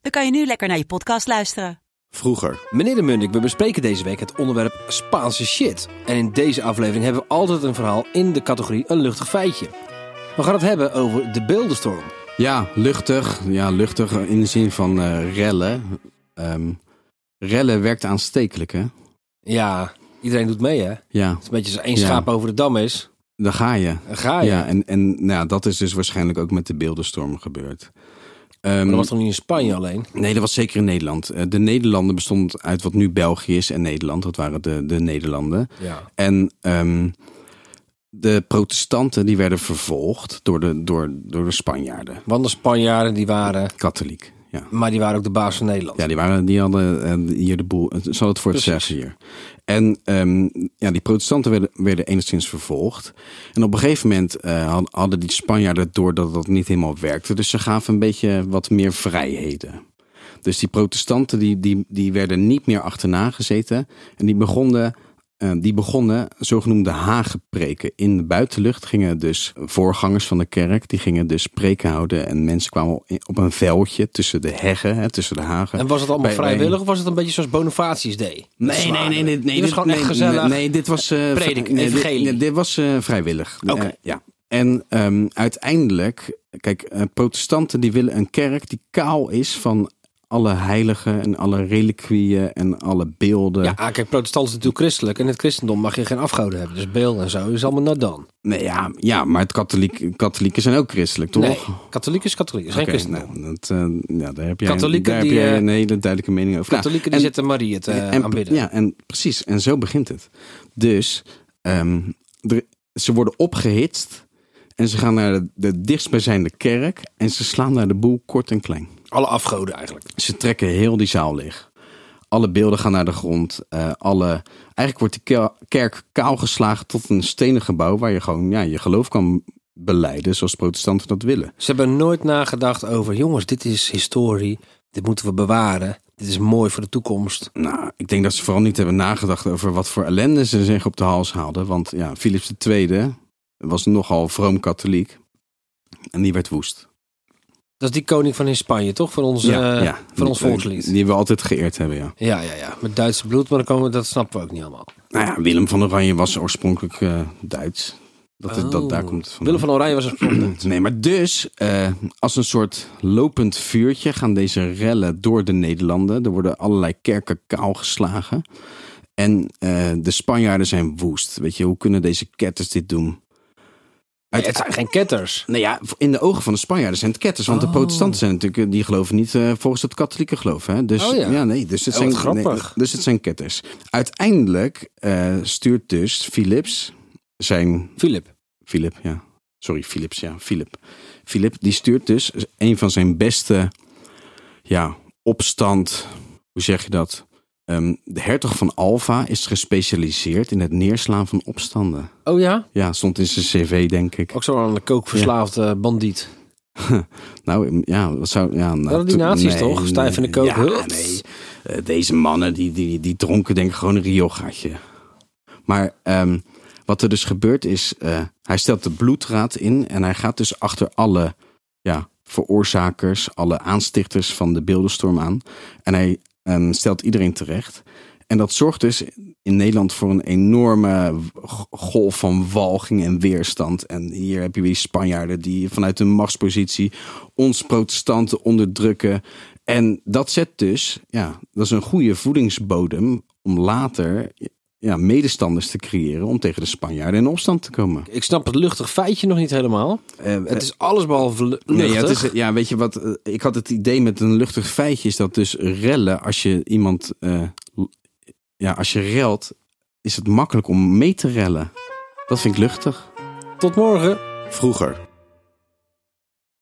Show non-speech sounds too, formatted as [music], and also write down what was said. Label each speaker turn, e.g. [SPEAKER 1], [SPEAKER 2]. [SPEAKER 1] dan kan je nu lekker naar je podcast luisteren.
[SPEAKER 2] Vroeger. Meneer de Munnik, we bespreken deze week het onderwerp Spaanse shit. En in deze aflevering hebben we altijd een verhaal in de categorie een luchtig feitje. We gaan het hebben over de beeldenstorm.
[SPEAKER 3] Ja, luchtig. Ja, luchtig in de zin van eh, rellen. Ehm, rellen werkt aanstekelijk, hè?
[SPEAKER 2] Ja, iedereen doet mee hè. Het
[SPEAKER 3] Ja,
[SPEAKER 2] is een beetje als één
[SPEAKER 3] Ja.
[SPEAKER 2] schaap over de dam is,
[SPEAKER 3] daar ga je.
[SPEAKER 2] dan ga je.
[SPEAKER 3] Ja, en, en nou, ja, dat is dus waarschijnlijk ook met de beeldenstorm gebeurd. Ehm,
[SPEAKER 2] Maar dat was toch niet in Spanje alleen?
[SPEAKER 3] Nee, dat was zeker in Nederland. Eh, De Nederlanden bestond uit wat nu België is en Nederland. Dat waren de, de Nederlanden.
[SPEAKER 2] Ja.
[SPEAKER 3] En ehm, de protestanten die werden vervolgd door de, door, door de Spanjaarden.
[SPEAKER 2] Want de Spanjaarden die waren,
[SPEAKER 3] Katholiek, ja.
[SPEAKER 2] maar die waren ook de baas van Nederland.
[SPEAKER 3] Ja, die, waren, die hadden eh, hier de boel. Het zal het voor het
[SPEAKER 2] Precies.
[SPEAKER 3] zeggen hier. En ehm, ja, die protestanten werden, werden enigszins vervolgd. En op een gegeven moment eh, had- hadden die Spanjaarden door dat dat niet helemaal werkte. Dus ze gaven een beetje wat meer vrijheden. Dus die protestanten die, die, die werden niet meer achterna gezeten. En die begonnen, eh, die begonnen zogenoemde hagepreken. In de buitenlucht gingen dus voorgangers van de kerk. Die gingen dus preken houden. En mensen kwamen op een veldje tussen de heggen. Hè, tussen de hagen.
[SPEAKER 2] En was het allemaal
[SPEAKER 3] Bij- bij-
[SPEAKER 2] vrijwillig of was het een beetje zoals Bonifatius deed?
[SPEAKER 3] Nee, nee, nee, nee, nee.
[SPEAKER 2] Dit was gewoon echt gezellig.
[SPEAKER 3] Nee, nee, dit was. eh,
[SPEAKER 2] Prediking,
[SPEAKER 3] vri- nee, dit-
[SPEAKER 2] evangelie.
[SPEAKER 3] nee, Dit, was eh, vrijwillig.
[SPEAKER 2] Oké.
[SPEAKER 3] Eh, ja. En ehm, uiteindelijk, kijk, eh, protestanten die willen een kerk die kaal is van alle heiligen en alle reliquieën en alle beelden.
[SPEAKER 2] Ja, ah, kijk, protestant is natuurlijk christelijk. En in het christendom mag je geen afgoden hebben. Dus beelden en zo is allemaal not dan.
[SPEAKER 3] Nee, ja, ja maar het katholiek, katholieken zijn ook christelijk, toch?
[SPEAKER 2] Nee, katholiek is katholiek. Is geen
[SPEAKER 3] Oké,
[SPEAKER 2] christendom.
[SPEAKER 3] nou, dat, eh, ja, daar heb jij,
[SPEAKER 2] Katholieken
[SPEAKER 3] daar heb
[SPEAKER 2] die,
[SPEAKER 3] jij
[SPEAKER 2] eh,
[SPEAKER 3] een hele duidelijke mening over. Nou,
[SPEAKER 2] Katholieken
[SPEAKER 3] en-
[SPEAKER 2] die zitten Maria te eh,
[SPEAKER 3] en,
[SPEAKER 2] aanbidden.
[SPEAKER 3] Ja, en precies. En zo begint het. Dus ehm, er- ze worden opgehitst. En ze gaan naar de, de dichtstbijzijnde kerk. En ze slaan naar de boel kort en klein.
[SPEAKER 2] Alle afgoden eigenlijk.
[SPEAKER 3] Ze trekken heel die zaal leeg. Alle beelden gaan naar de grond. eh, alle, eigenlijk wordt die kel- kerk kaal geslagen tot een stenen gebouw. Waar je gewoon ja, je geloof kan beleiden zoals protestanten dat willen.
[SPEAKER 2] Ze hebben nooit nagedacht over, jongens, dit is historie. Dit moeten we bewaren. Dit is mooi voor de toekomst.
[SPEAKER 3] Nou, ik denk dat ze vooral niet hebben nagedacht over wat voor ellende ze zich op de hals haalden. Want ja, Philips II was nogal vroom katholiek. En die werd woest.
[SPEAKER 2] Dat is die koning van in Spanje, toch? Van ons, eh, van ons
[SPEAKER 3] Die-
[SPEAKER 2] volkslied.
[SPEAKER 3] Die we altijd geëerd hebben, ja.
[SPEAKER 2] Ja, ja, ja. Met Duitse bloed, maar dan komen we, dat snappen we ook niet allemaal.
[SPEAKER 3] Nou ja, Willem van Oranje was oorspronkelijk eh, Duits. Dat, het- dat,
[SPEAKER 2] Oh.
[SPEAKER 3] daar komt het vandaan.
[SPEAKER 2] Willem van Oranje
[SPEAKER 3] [clears throat]
[SPEAKER 2] was een
[SPEAKER 3] Nee, maar dus eh, als een soort lopend vuurtje gaan deze rellen door de Nederlanden. Er worden allerlei kerken kaal geslagen. En eh, de Spanjaarden zijn woest. Weet je, hoe kunnen deze ketters dit doen?
[SPEAKER 2] Het, het zijn geen Oh. ketters.
[SPEAKER 3] Nou ja, in de ogen van de Spanjaarden zijn het ketters. Want de protestanten zijn natuurlijk, eh, die geloven niet eh, volgens het katholieke geloof. Hè? Dus,
[SPEAKER 2] Oh ja.
[SPEAKER 3] nee, dus het,
[SPEAKER 2] Oh,
[SPEAKER 3] zijn,
[SPEAKER 2] wat grappig.
[SPEAKER 3] nee, dus het zijn ketters. Uiteindelijk eh, stuurt dus Philips zijn
[SPEAKER 2] Filip.
[SPEAKER 3] Philip, ja. Sorry, Philips, ja. Philip. Philip, die stuurt dus een van zijn beste, ja, opstand, hoe zeg je dat? Ehm, de hertog van Alva is gespecialiseerd in het neerslaan van opstanden.
[SPEAKER 2] Oh ja?
[SPEAKER 3] Ja, stond in zijn cv, denk ik.
[SPEAKER 2] Ook zo'n kookverslaafde bandiet.
[SPEAKER 3] Nou, ja, wat zou... Ja, nou,
[SPEAKER 2] Hadden die
[SPEAKER 3] toen-
[SPEAKER 2] nazi's toch? Stijf in de kook,
[SPEAKER 3] Ja,
[SPEAKER 2] hup.
[SPEAKER 3] nee. Eh, deze mannen, die, die, die dronken denk ik gewoon een rioolgaatje. Maar ehm, wat er dus gebeurt is, eh, hij stelt de bloedraad in en hij gaat dus achter alle ja, veroorzakers, alle aanstichters van de beeldenstorm aan. En hij ehm, stelt iedereen terecht. En dat zorgt dus in Nederland voor een enorme g- golf van walging en weerstand. En hier heb je weer die Spanjaarden die vanuit hun machtspositie ons protestanten onderdrukken. En dat zet dus, ja, dat is een goede voedingsbodem om later ja, medestanders te creëren om tegen de Spanjaarden in opstand te komen.
[SPEAKER 2] Ik snap het luchtig feitje nog niet helemaal. Het is allesbehalve lu- luchtig.
[SPEAKER 3] Eh. Nee, ja, het is, ja, weet je wat? eh, Ik had het idee met een luchtig feitje is dat dus rellen, als je iemand, eh, l- ja, als je relt, is het makkelijk om mee te rellen. Dat vind ik luchtig.
[SPEAKER 2] Tot morgen.
[SPEAKER 3] Vroeger.